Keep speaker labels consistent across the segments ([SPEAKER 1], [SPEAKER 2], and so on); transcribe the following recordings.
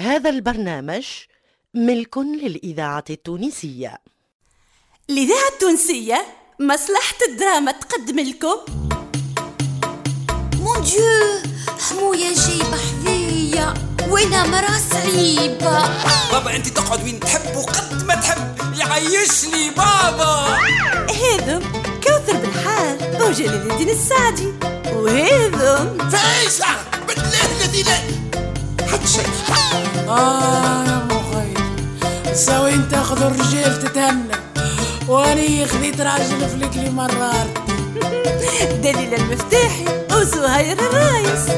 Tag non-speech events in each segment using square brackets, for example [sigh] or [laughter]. [SPEAKER 1] هذا البرنامج ملك للإذاعة التونسية
[SPEAKER 2] الإذاعة التونسية مصلحة الدراما تقدم لكم
[SPEAKER 3] مون ديو حموية جايبة حذية وانا مرا صعيبة
[SPEAKER 4] بابا انت تقعد وين تحب وقد ما تحب يعيشني بابا
[SPEAKER 2] هذم كوثر بالحال وجلال الدين السعدي وهذم
[SPEAKER 4] فايشة آه، بالله الذي لا حد شيء
[SPEAKER 5] آه يا مخي سوين تاخذ الرجال تتهنى واني خذيت راجل فليك لي مرار
[SPEAKER 2] دليل المفتاحي وزهير الرايس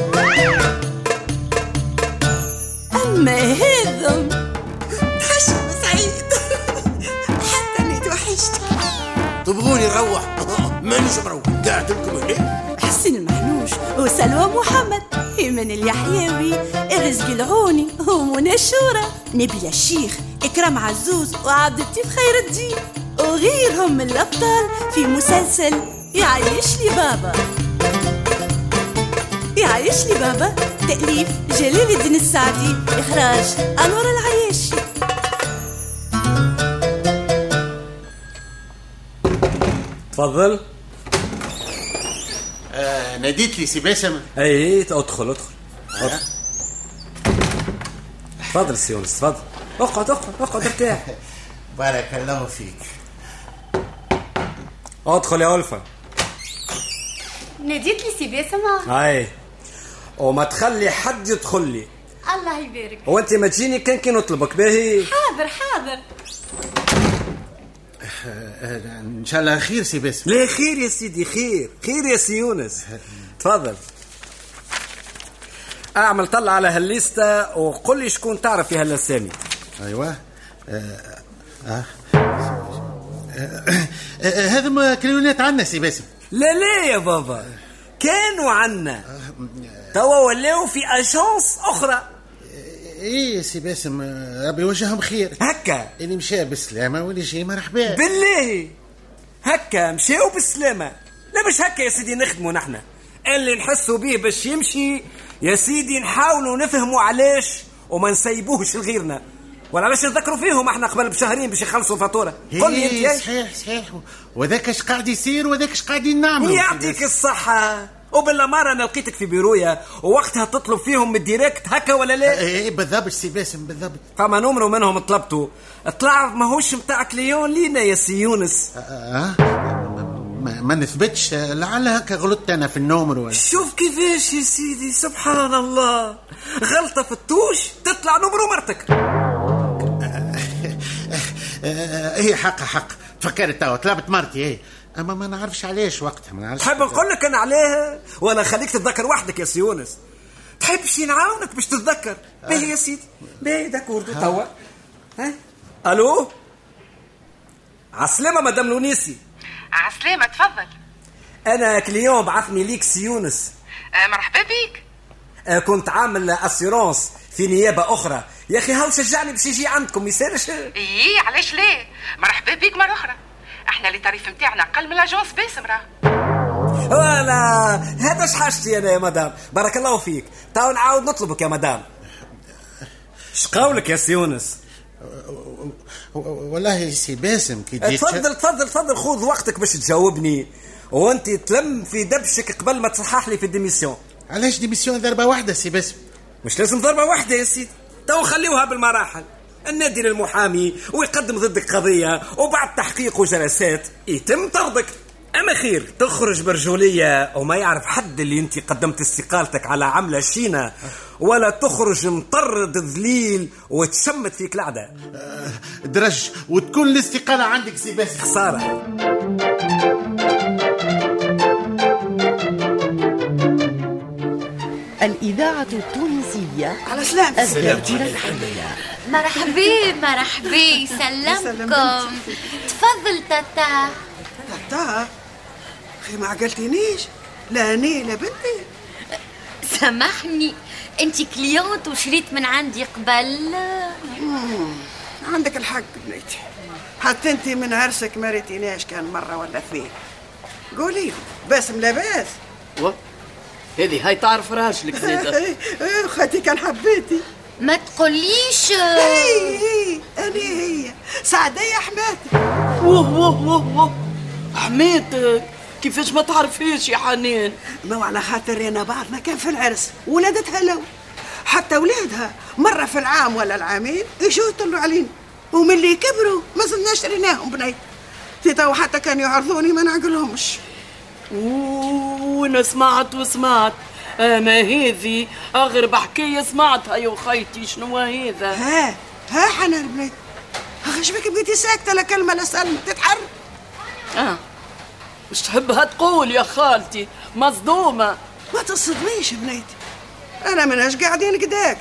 [SPEAKER 2] أما
[SPEAKER 3] [laughs]
[SPEAKER 2] هذم
[SPEAKER 3] حشم سعيد حتى اني توحشت
[SPEAKER 4] تبغوني نروح [laughs] مانيش مروح قاعد لكم هنا
[SPEAKER 2] حسين المحنوش وسلوى محمد إيمان اليحيوي رزق العوني ومنى الشورى نبيل الشيخ إكرام عزوز وعبد اللطيف خير الدين وغيرهم من الأبطال في مسلسل يعيش لي بابا يعيش لي بابا تأليف جلال الدين السعدي إخراج أنور العياشي
[SPEAKER 6] تفضل
[SPEAKER 7] آه، ناديت لي سي باسم
[SPEAKER 6] اي ادخل ادخل
[SPEAKER 4] أه.
[SPEAKER 6] اتفضل تفضل سي يونس تفضل اقعد اقعد اقعد ارتاح
[SPEAKER 7] بارك الله فيك
[SPEAKER 6] ادخل يا الفا
[SPEAKER 8] ناديت لي سي باسم
[SPEAKER 6] اي وما تخلي حد يدخل لي
[SPEAKER 8] الله يبارك
[SPEAKER 6] هو انت ما تجيني كان كي نطلبك باهي
[SPEAKER 8] حاضر حاضر
[SPEAKER 7] آه، ان شاء الله خير سي باسم
[SPEAKER 6] لا خير يا سيدي خير خير يا سي يونس تفضل اعمل طلع على هالليستا وقل لي شكون تعرف في هالاسامي
[SPEAKER 7] ايوه آه، آه. آه، هذا ما كليونات عنا سي باسم
[SPEAKER 6] لا لا يا بابا كانوا عنا توا ولاو في اجونس اخرى
[SPEAKER 7] ايه سي باسم آه، ربي يوجههم خير
[SPEAKER 6] هكا
[SPEAKER 7] اللي مشى بالسلامه واللي جاي مرحبا
[SPEAKER 6] بالله هكا مشاو بالسلامة لا مش هكا يا سيدي نخدموا نحنا اللي نحسوا بيه باش يمشي يا سيدي نحاولوا نفهموا علاش وما نسيبوهش لغيرنا ولا علاش نذكروا فيهم احنا قبل بشهرين باش يخلصوا فاتورة قل لي
[SPEAKER 7] إيه،
[SPEAKER 6] انت يا-
[SPEAKER 7] صحيح صحيح وذاك اش قاعد يصير وذاك اش قاعدين نعملوا
[SPEAKER 6] يعطيك الصحة وبالله مارة انا لقيتك في بيرويا ووقتها تطلب فيهم من الديريكت هكا ولا لا
[SPEAKER 7] ايه بالضبط سي باسم بالضبط
[SPEAKER 6] فما نمرو منهم طلبته طلع ماهوش متاعك ليون لينا يا سي يونس
[SPEAKER 7] آه، ما, ما نثبتش آه، لعل هكا غلطت انا في النومر ولا
[SPEAKER 6] شوف كيفاش يا سيدي سبحان الله غلطة في التوش تطلع نمرو مرتك
[SPEAKER 7] آه، هي حق حق فكرت توا طلبت مرتي هي اما ما نعرفش علاش وقتها ما نعرفش
[SPEAKER 6] تحب نقول لك انا عليها ولا خليك تتذكر وحدك يا سيونس تحب شي نعاونك باش تتذكر باهي يا سيدي باهي داكوردو توا ها الو عسلامة مدام لونيسي
[SPEAKER 9] عسلامة تفضل
[SPEAKER 6] انا كليون بعثني ليك سيونس
[SPEAKER 9] آه مرحبا بيك
[SPEAKER 6] آه، كنت عامل اسيرونس في نيابة اخرى يا اخي هاو شجعني باش يجي عندكم ما يسالش
[SPEAKER 9] ايه علاش ليه مرحبا بيك مرة أخرى احنا اللي التاريف نتاعنا أقل من لاجونس باسم راه
[SPEAKER 6] ولا هذا شحاجتي انا يا مدام بارك الله فيك تو نعاود نطلبك يا مدام شقولك يا سيونس
[SPEAKER 7] أه، و- و- أه، والله سي باسم كي جيت
[SPEAKER 6] تفضل تفضل تفضل خذ وقتك باش تجاوبني وانت تلم في دبشك قبل ما تصحح لي في الديميسيون
[SPEAKER 7] علاش ديميسيون ضربه واحده سي باسم
[SPEAKER 6] مش لازم ضربه واحده يا سيدي تو خليوها بالمراحل النادي للمحامي ويقدم ضدك قضيه وبعد تحقيق وجلسات يتم طردك اما خير تخرج برجوليه وما يعرف حد اللي انت قدمت استقالتك على عمله شينه ولا تخرج مطرد ذليل وتشمت فيك العداء
[SPEAKER 7] درج وتكون الاستقاله عندك سي باسم
[SPEAKER 6] خساره
[SPEAKER 1] الإذاعة التونسية
[SPEAKER 5] على سلام
[SPEAKER 1] الذاكرة الحية
[SPEAKER 3] مرحبا مرحبا سلمكم تفضل تاتا
[SPEAKER 5] تا اخي ما عقلتنيش لا اني لا بنتي
[SPEAKER 3] سامحني انت كليونت وشريت من عندي قبل
[SPEAKER 5] عندك الحق بنيتي حتى انت من عرسك ما ريتيناش كان مره ولا اثنين قولي باسم لاباس [laughs]
[SPEAKER 10] هذه هاي تعرف راجلك زيدا
[SPEAKER 5] خاتي إيه، كان حبيتي
[SPEAKER 3] ما تقوليش آه،
[SPEAKER 11] هي أنا هي سعدية حماتك ووه ووه ووه ووه حماتك كيفاش ما تعرفيش يا حنان ما على خاطر انا بعضنا كان في العرس ولادتها لو حتى ولادها مرة في العام ولا العامين يجوا يطلوا علينا ومن اللي كبروا ما زلنا شريناهم بنيت في تو حتى كانوا يعرضوني ما نعقلهمش
[SPEAKER 12] وانا سمعت وسمعت اما هذه اغرب حكايه سمعتها يا خيتي شنو هذا
[SPEAKER 11] ها ها حنان بنيت اخش بك بقيتي ساكتة لا كلمة لا سلمة تتحرك
[SPEAKER 12] اه مش تحبها تقول يا خالتي مصدومه
[SPEAKER 11] ما تصدميش بنيتي انا مناش قاعدين قداك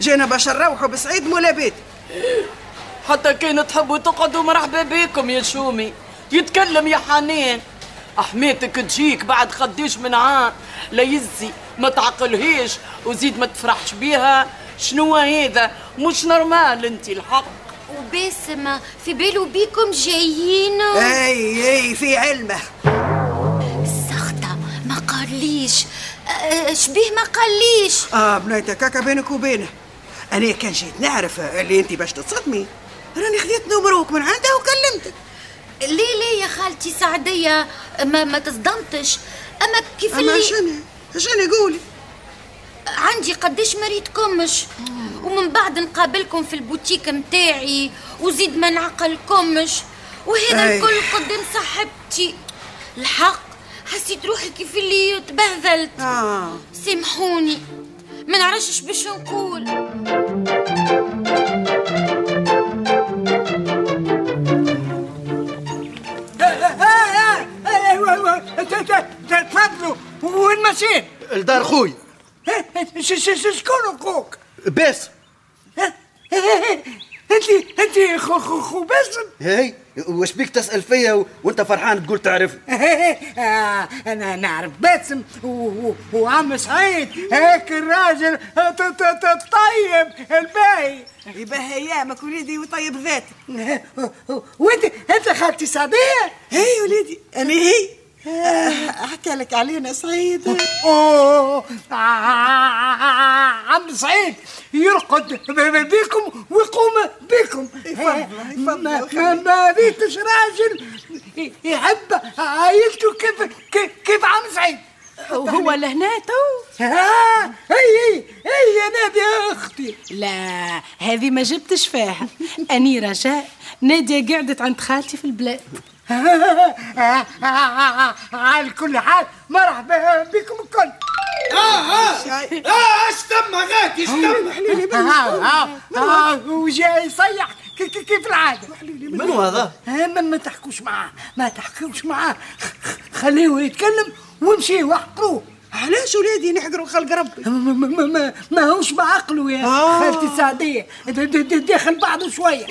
[SPEAKER 11] جينا باش نروحوا بسعيد مولا بيت
[SPEAKER 12] حتى كان تحبوا تقعدوا مرحبا بكم يا شومي يتكلم يا حنان احميتك تجيك بعد خديش من عام لا يزي ما تعقلهيش وزيد ما تفرحش بيها شنو هذا مش نورمال انت الحق
[SPEAKER 3] وباسم في بالو بيكم جايين
[SPEAKER 5] إيه.
[SPEAKER 11] اي اي في علمه
[SPEAKER 3] سخطة ما قاليش آه، شبيه ما قاليش
[SPEAKER 11] اه بنيتك هكا بينك وبينه انا كان جيت نعرف اللي انت باش تتصدمي راني خذيت نمروك من عندها وكلمتك
[SPEAKER 3] ليه ليه يا خالتي سعدية ما, ما تصدمتش أما كيف
[SPEAKER 11] اما
[SPEAKER 3] اللي
[SPEAKER 11] شنو شنو قولي
[SPEAKER 3] عندي قديش ما ريتكمش ومن بعد نقابلكم في البوتيك متاعي وزيد ما نعقلكمش وهذا
[SPEAKER 11] أي.
[SPEAKER 3] الكل قدام صاحبتي الحق حسيت روحي كيف اللي تبهذلت
[SPEAKER 5] آه.
[SPEAKER 11] اه
[SPEAKER 3] سامحوني ما نعرفش باش نقول
[SPEAKER 5] تفضلوا وين ماشيين؟
[SPEAKER 7] لدار خويا
[SPEAKER 5] شكون اخوك؟
[SPEAKER 7] باسم
[SPEAKER 5] انت انت خو خو خو باسم
[SPEAKER 7] هاي واش بيك تسال فيا و- وانت فرحان تقول تعرف
[SPEAKER 5] [laughs] آه، انا نعرف باسم و- و- وعم سعيد هيك الراجل ط- ط- ط- الطيب طيب الباهي
[SPEAKER 11] يباه ايامك وليدي وطيب ذاتك
[SPEAKER 5] [laughs] وانت انت خالتي سعديه
[SPEAKER 11] هي وليدي انا
[SPEAKER 5] [laughs]
[SPEAKER 11] هي آه، احكي لك علينا سعيد
[SPEAKER 5] اوه ع- ع- [laughs] عم سعيد يرقد ب- ب- بيكم ويقوم بيكم
[SPEAKER 11] يفضل- يفضل
[SPEAKER 5] ما- ما
[SPEAKER 11] ويخليك.
[SPEAKER 5] ما ريتش راجل يحب عائلته كيف كيف- كيف عم سعيد
[SPEAKER 12] وهو لهنا تو
[SPEAKER 5] ها هي هي نادي يا اختي
[SPEAKER 12] لا هذه ما جبتش فيها اني رجاء ناديه قعدت عند خالتي في
[SPEAKER 5] [laughs]
[SPEAKER 12] البلاد
[SPEAKER 5] على كل حال مرحبا بكم الكل أيوه. وجاي يصيح كي- كي- كيف العاده
[SPEAKER 7] منو هذا؟
[SPEAKER 5] ها، ما ما تحكوش معاه ما تحكوش معاه خ- خ- خليه يتكلم وامشي واحقروه
[SPEAKER 11] علاش ولادي نحقروا خلق ربي آه.
[SPEAKER 5] ما- ما ما- ما ما هوش بعقله يا خالتي سعدية د- د- د- داخل بعضه شوية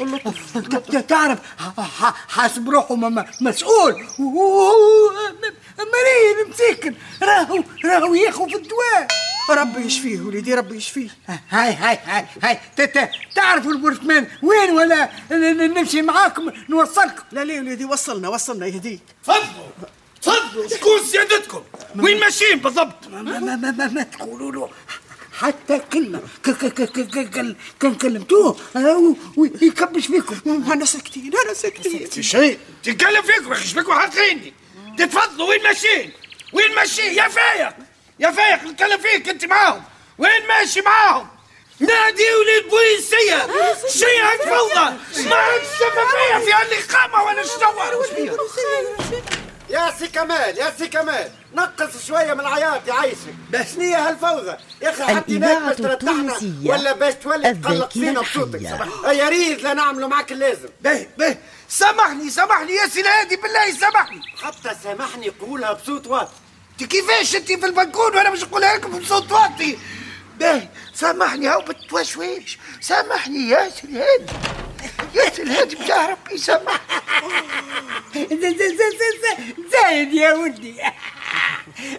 [SPEAKER 5] ت- تعرف ح- ح- حاسب روحه م- م- مسؤول وهو م- مريض مسكن راهو راهو ياخو في الدواء
[SPEAKER 11] ربي يشفيه وليدي ربي يشفيه
[SPEAKER 5] هاي هاي هاي هاي ت- ت- تعرفوا البرتمان وين ولا ن- ن- نمشي معاكم نوصلكم
[SPEAKER 11] لا ليه وليدي وصلنا وصلنا يهديك
[SPEAKER 10] تفضلوا تفضلوا شكون سيادتكم وين ماشيين بالضبط
[SPEAKER 5] ما ما ما, ما, ما تقولوا له حتى كلمة ك- ك- ك- ك- ك- كل- كان كلمتوه راهو يكبش فيكم
[SPEAKER 11] انا ساكتين انا ساكتين
[SPEAKER 10] في شيء تتكلم فيكم اخي شبيكم حاطيني تفضلوا وين ماشيين وين ماشيين يا فايق يا فايق نتكلم فيك انت معاهم وين ماشي معاهم نادي وليد بوليسية شيء فوضى ما عندش شفافية في هالإقامة ولا شنو
[SPEAKER 7] يا سي كمال يا سي كمال نقص شويه من العياط يعيشك شنو هي هالفوضى يا اخي حتى
[SPEAKER 1] الإذاعة
[SPEAKER 7] ناس باش ترتاحنا
[SPEAKER 1] التونسية
[SPEAKER 7] ولا باش تولي تقلق
[SPEAKER 1] الذاكرة
[SPEAKER 7] فينا بصوتك
[SPEAKER 1] الحية.
[SPEAKER 7] صباح- يا ريت لا نعملوا معك اللازم
[SPEAKER 10] به به سامحني سامحني يا سي الهادي بالله سامحني
[SPEAKER 7] حتى سامحني قولها بصوت واطي
[SPEAKER 10] انت كيفاش انت في البلكون وانا مش نقولها لكم بصوت واطي باهي سامحني هاو بالتوشويش سامحني يا سي الهادي يا سي الهادي بتاع ربي سامحني
[SPEAKER 5] ز- ز- ز- ز- ز- زايد يا ولدي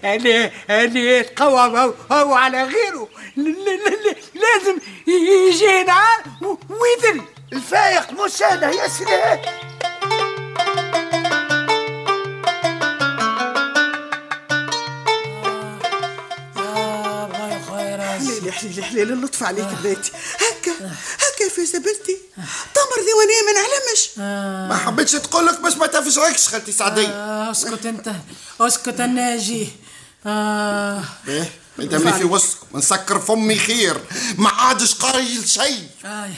[SPEAKER 5] انا انا يتقوم او, أو على غيره ل- ل- ل- لازم يجي نهار و- ويذل
[SPEAKER 10] الفايق مش انا يا سي الهادي
[SPEAKER 12] يا بغي خير
[SPEAKER 5] أهلي الحلال اللطف عليك بناتي هكا هكا في زبلتي تمر ديوانية ما نعلمش
[SPEAKER 7] ما حبيتش تقول لك باش ما تفجعكش خالتي سعدية
[SPEAKER 2] آه. اسكت انت اسكت الناجي آه
[SPEAKER 7] باهي مادام لي في وسط نسكر فمي خير ما عادش قايل شيء
[SPEAKER 2] آه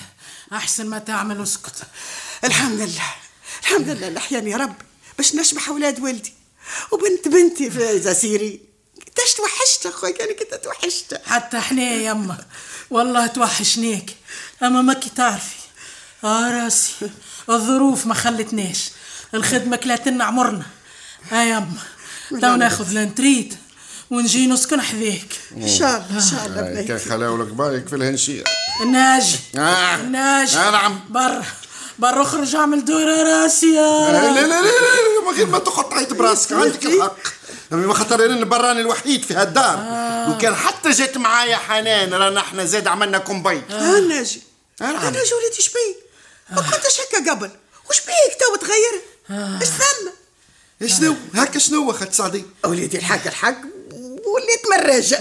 [SPEAKER 2] احسن ما تعمل اسكت
[SPEAKER 5] الحمد لله الحمد لله الأحيان يا رب باش نشبح أولاد والدي وبنت بنتي فايزة سيري كنتش توحشت أخويا أنا كنت توحشت
[SPEAKER 2] حتى حنايا يما والله توحشناك اما ما كي تعرفي اه راسي الظروف ما خلتناش الخدمه كلاتنا عمرنا اه يما تو ناخذ لانتريت ونجي نسكن حذاك
[SPEAKER 5] ان شاء الله ان شاء الله
[SPEAKER 7] هاي كان خلاو الكبار يكفي الهنشير
[SPEAKER 2] الناجي
[SPEAKER 7] آه.
[SPEAKER 2] الناجي
[SPEAKER 7] آه نعم.
[SPEAKER 2] برا برا اخرج اعمل دور يا راسي يا
[SPEAKER 7] آه، لا لا لا لا من غير ما تقطعي براسك عندك الحق أما خاطر انا براني الوحيد في هالدار لو كان حتى جات معايا حنان رانا احنا زاد عملنا كومباين
[SPEAKER 5] ها ناجي
[SPEAKER 7] نعم.
[SPEAKER 5] انا وليدي شبيه ما كنتش هكا قبل وش بيك تو تغير اش ثم
[SPEAKER 7] شنو هكا شنو خالتي سعدية
[SPEAKER 5] وليدي الحق الحق وليت مراجة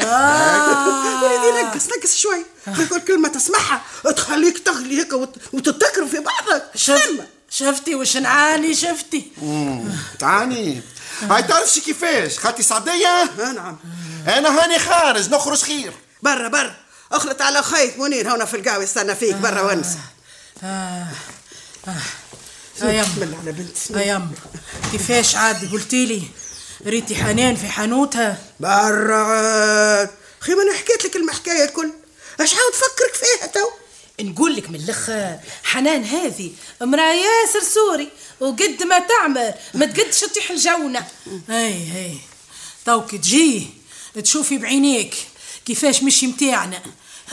[SPEAKER 5] وليدي نقص نقص شوي كل كلمة تسمعها تخليك تغلي هكا وت- وتتكرم في بعضك شم
[SPEAKER 2] شفتي وش نعاني شفتي
[SPEAKER 7] مم، تعاني هاي تعرفش كيفاش خالتي سعدية
[SPEAKER 5] نعم
[SPEAKER 7] انا هاني خارج نخرج خير
[SPEAKER 5] برا برا اخلط على خيك منير هنا في القهوة استنى فيك برا ونس
[SPEAKER 2] آه. آه. يا آه،
[SPEAKER 5] بسم على بنتي
[SPEAKER 2] يا يما كيفاش عاد قلتي لي ريتي حنان في حانوتها
[SPEAKER 5] برا عاد خي ما انا حكيت لك المحكايه الكل اش عاود تفكرك فيها تو
[SPEAKER 2] نقول لك من الاخر حنان هذه امراه ياسر سوري وقد ما تعمل ما تقدش تطيح الجونه اي اي تو كي تجي تشوفي بعينيك كيفاش مشي متاعنا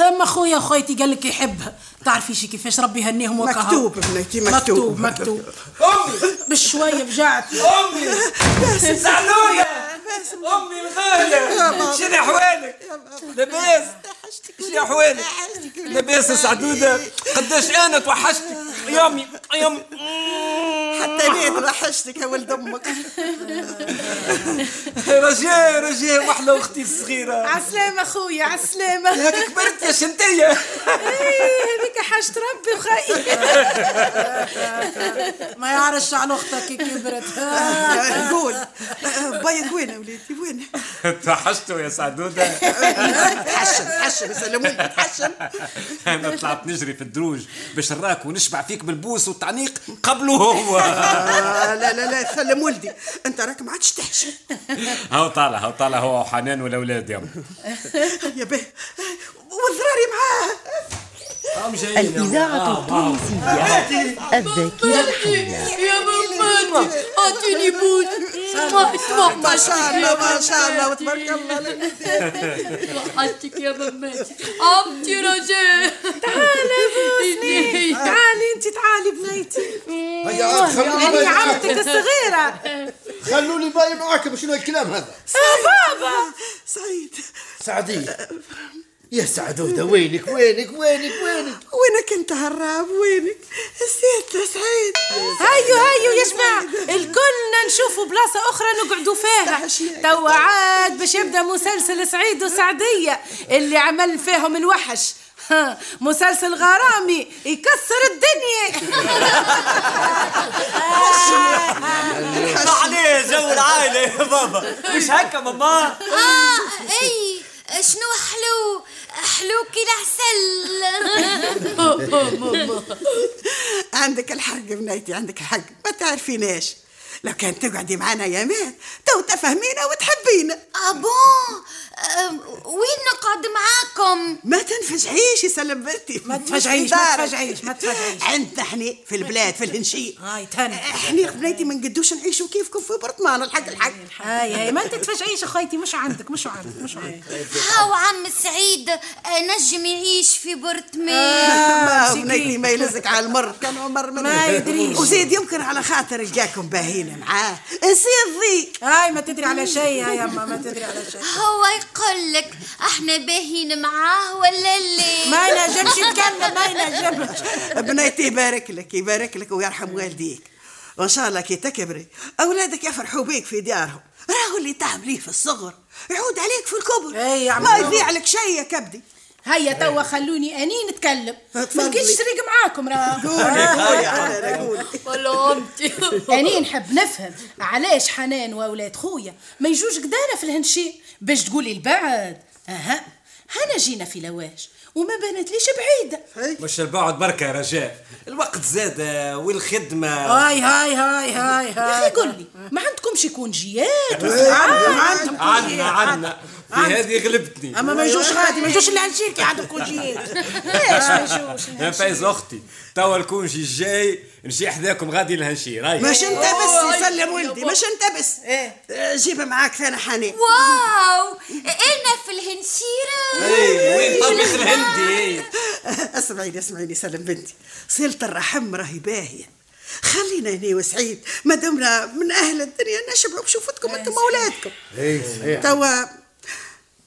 [SPEAKER 2] هم خويا وخويتي قال لك يحبها تعرفي شي كيفاش ربي هنيهم وكهو
[SPEAKER 5] مكتوب بنتي
[SPEAKER 2] مكتوب
[SPEAKER 5] مكتوب
[SPEAKER 2] مكتوب امي بالشويه رجعت
[SPEAKER 5] أمي.
[SPEAKER 2] [laughs]
[SPEAKER 6] زعلوية أمي الغالية شنو أحوالك؟ لاباس؟ شنو أحوالك؟ لاباس يا سعدودة؟ قداش أنا توحشتك يا أمي يا أمي
[SPEAKER 5] حتى انا توحشتك يا ولد امك
[SPEAKER 6] [laughs] رجاء رجاء وأحلى أختي الصغيرة
[SPEAKER 2] عسلامة خويا عسلامة
[SPEAKER 6] هاك كبرت يا شنتية
[SPEAKER 2] ايه هذيك حاجة ربي وخي [laughs] ما يعرفش على اختك كي كبرت
[SPEAKER 5] [laughs] قول بايك وين يا وليدي وين
[SPEAKER 13] [laughs] توحشتوا يا سعدودة
[SPEAKER 5] تحشم تحشم يسلموني [laughs] تحشم
[SPEAKER 13] أنا طلعت نجري في الدروج باش نراك ونشبع فيك بالبوس والتعنيق قبله هو
[SPEAKER 5] آه، لا لا لا سلم ولدي انت راك ما عادش تحشم
[SPEAKER 13] هاو طالع هاو طالع هو وحنان والأولاد يا أمي
[SPEAKER 5] يا به والضراري معاه
[SPEAKER 6] آه،
[SPEAKER 1] الإذاعة التونسية الذاكرة الحية
[SPEAKER 2] يا مامتي اعطيني بوس
[SPEAKER 5] ما شاء الله ما شاء الله وتبارك الله على الوليدي.
[SPEAKER 14] وحدتك يا مماتي عمتي رجاء تعالي بوسني
[SPEAKER 2] تعالي انت تعالي بنيتي
[SPEAKER 14] هيا عاد خلوني
[SPEAKER 2] هي
[SPEAKER 14] بيت.
[SPEAKER 2] عمتك الصغيرة
[SPEAKER 7] خلوني باين معاكم شنو الكلام هذا
[SPEAKER 2] بابا
[SPEAKER 5] سعيد
[SPEAKER 7] سعدية يا سعدودة وينك وينك وينك وينك
[SPEAKER 5] وينك انت هراب وينك نسيت يا سعيد
[SPEAKER 2] هيو هيو يا جماعة الكلنا نشوفوا بلاصة أخرى نقعدوا فيها توا عاد باش يبدا مسلسل سعيد وسعدية اللي عمل فيهم الوحش ها، مسلسل غرامي يكسر
[SPEAKER 5] [laughs]
[SPEAKER 2] الدنيا
[SPEAKER 6] آه. عليه جو العائلة [laughs] يا بابا مش هكا ماما
[SPEAKER 3] آه أي شنو حلو حلو كي العسل
[SPEAKER 5] عندك الحق بنيتي عندك الحق ما تعرفيناش لو كان تقعدي معنا يا مات تو تفهمينا وتحبينا
[SPEAKER 3] ابون وين نقعد معاكم
[SPEAKER 5] ما تنفجعيش يسلم بنتي ما
[SPEAKER 2] تفجعيش، ما تفجعيش، ما تفجعيش.
[SPEAKER 5] عندنا احنا في البلاد في الهنشي
[SPEAKER 6] آه،
[SPEAKER 2] هاي تهنى
[SPEAKER 5] احنا بنيتي ما نقدوش نعيشوا كيفكم في برطمان الحق الحق
[SPEAKER 2] هاي هاي ما انت تفجعيش اخويتي مش عندك مش عندك مش
[SPEAKER 5] إيه.
[SPEAKER 2] عندك
[SPEAKER 3] هاو عم سعيد آه، نجم يعيش في برطمان
[SPEAKER 5] ما بنيتي ما يلزق على المر كان عمر من
[SPEAKER 2] ما يدريش.
[SPEAKER 5] وزيد يمكن على خاطر لقاكم باهين معاه
[SPEAKER 2] نسيت ضيق هاي ما تدري على شيء يا يما ما تدري على شيء
[SPEAKER 3] هو يقول لك احنا باهين معاه ولا لا
[SPEAKER 2] ما ينجمش يتكلم ما ينجمش
[SPEAKER 5] بنيتي يبارك لك يبارك لك ويرحم والديك وان شاء الله كي تكبري اولادك يفرحوا بيك في ديارهم راهو اللي تعمليه في الصغر يعود عليك في الكبر
[SPEAKER 2] اي إيه يا عم
[SPEAKER 5] ما
[SPEAKER 2] بابا.
[SPEAKER 5] يضيع لك شيء يا كبدي
[SPEAKER 15] هيا توا خلوني اني نتكلم ما لقيتش شريك معاكم راه آه.
[SPEAKER 5] قولي، قولي، عمري، قولي.
[SPEAKER 15] والله [laughs] امتي اني نحب نفهم علاش حنان واولاد خويا ما يجوش قدانا في الهنشي باش تقولي البعد اها هنا جينا في لواش وما بانتليش بعيده
[SPEAKER 6] مش البعد بركه يا رجاء الوقت زاد آه، والخدمه
[SPEAKER 15] هاي هاي هاي هاي هاي يا اخي قول لي ما عندكمش يكون جيات
[SPEAKER 5] إيه، آه،
[SPEAKER 15] وساعات؟
[SPEAKER 6] عنا عنا في هذه غلبتني
[SPEAKER 5] اما آه، ما يجوش غادي ما يجوش اللي عندك عندهم كوجيات ليش ما يجوش
[SPEAKER 6] يا آه. فايز اختي توا الكونجي الجاي نجي حذاكم غادي لهنشي رايح
[SPEAKER 5] مش انت بس يسلم ولدي مش انت بس آه، جيب معاك ثاني حنان
[SPEAKER 3] واو انا في الهنشيره
[SPEAKER 5] إيه، وين
[SPEAKER 3] في
[SPEAKER 5] طبيخ
[SPEAKER 3] الهواء.
[SPEAKER 5] الهندي؟ [laughs] اسمعيني اسمعيني سلم بنتي صلة الرحم راهي باهية خلينا هنا وسعيد ما دمنا من اهل الدنيا نشبعوا
[SPEAKER 15] إيه،
[SPEAKER 5] بشوفتكم انتم واولادكم
[SPEAKER 16] اي صحيح
[SPEAKER 5] توا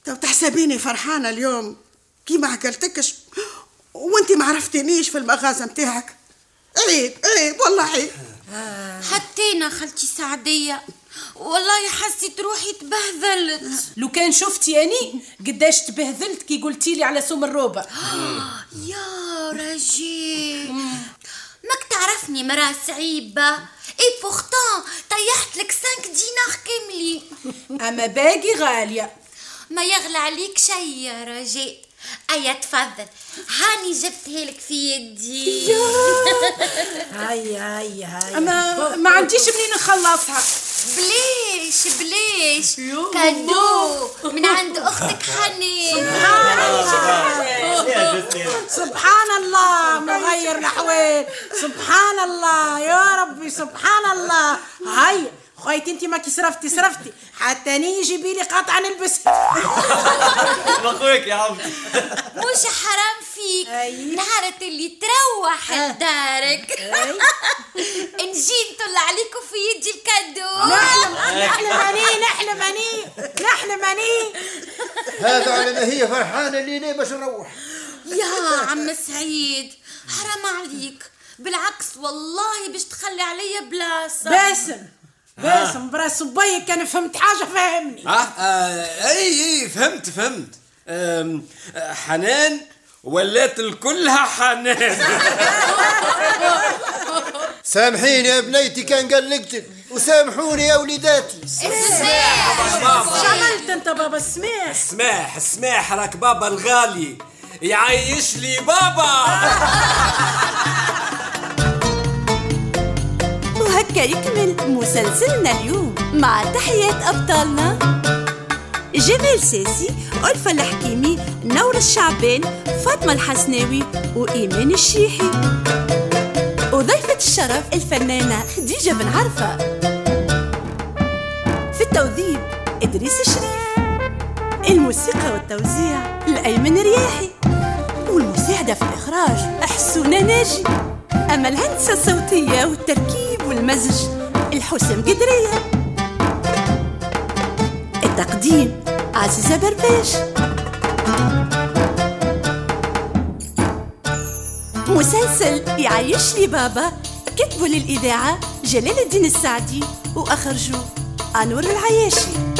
[SPEAKER 5] توا تحسبيني فرحانة اليوم كيما عقلتكش وانت ما عرفتنيش في المغازة متاعك عيب عيب والله عيب
[SPEAKER 3] حتى انا خالتي سعديه والله حسيت روحي تبهذلت
[SPEAKER 15] لو كان شفتي اني قداش تبهذلت كي قلتي لي على سوم الروبه
[SPEAKER 3] يا رجي ماك تعرفني مرا صعيبة اي بورتان طيحت لك 5 دينار كاملين
[SPEAKER 15] اما باقي غالية
[SPEAKER 3] ما يغلى عليك شي يا رجاء ايا تفضل هاني جبتها لك في يدي
[SPEAKER 15] هاي هاي هاي اما ما عنديش منين نخلصها
[SPEAKER 3] بليش بليش كادو من عند اختك حنين
[SPEAKER 17] سبحان الله مغير الاحوال سبحان الله يا ربي سبحان الله هيا خويتي انت ما كي صرفتي صرفتي حتى نيجي بيلي قطعه نلبس
[SPEAKER 6] مخوك يا عم
[SPEAKER 3] مش حرام فيك نهارة اللي تروح لدارك [laughs] نجي نطلع عليكم في يدي الكادو
[SPEAKER 17] نحلم نحلم اني نحلم اني نحلم اني
[SPEAKER 7] هذا على ما هي فرحانه لينا باش نروح
[SPEAKER 3] يا عم سعيد حرام عليك بالعكس والله باش تخلي عليا بلاصة
[SPEAKER 17] باسم باسم برا صبيك انا فهمت حاجه فهمني
[SPEAKER 6] اه آه، اي اي فهمت فهمت آم، آه، حنان ولات الكلها حنان [laughs]
[SPEAKER 7] سامحيني يا بنيتي كان قلقتك وسامحوني يا وليداتي
[SPEAKER 17] شغلت انت بابا السماح
[SPEAKER 6] سماح سماح راك بابا الغالي يعيش لي بابا
[SPEAKER 2] وهكا يكمل مسلسلنا اليوم مع تحيات أبطالنا جمال ساسي ألفة الحكيمي نور الشعبان فاطمة الحسناوي وإيمان الشيحي وضيفة الشرف الفنانة خديجة بن عرفة في التوظيف إدريس الشريف الموسيقى والتوزيع الأيمن رياحي والمساعدة في الإخراج حسونة ناجي أما الهندسة الصوتية والتركيب والمزج الحسن قدرية التقديم عزيزة برباش مسلسل يعيش لي بابا كتبه للإذاعة جلال الدين السعدي وأخرجه أنور العياشي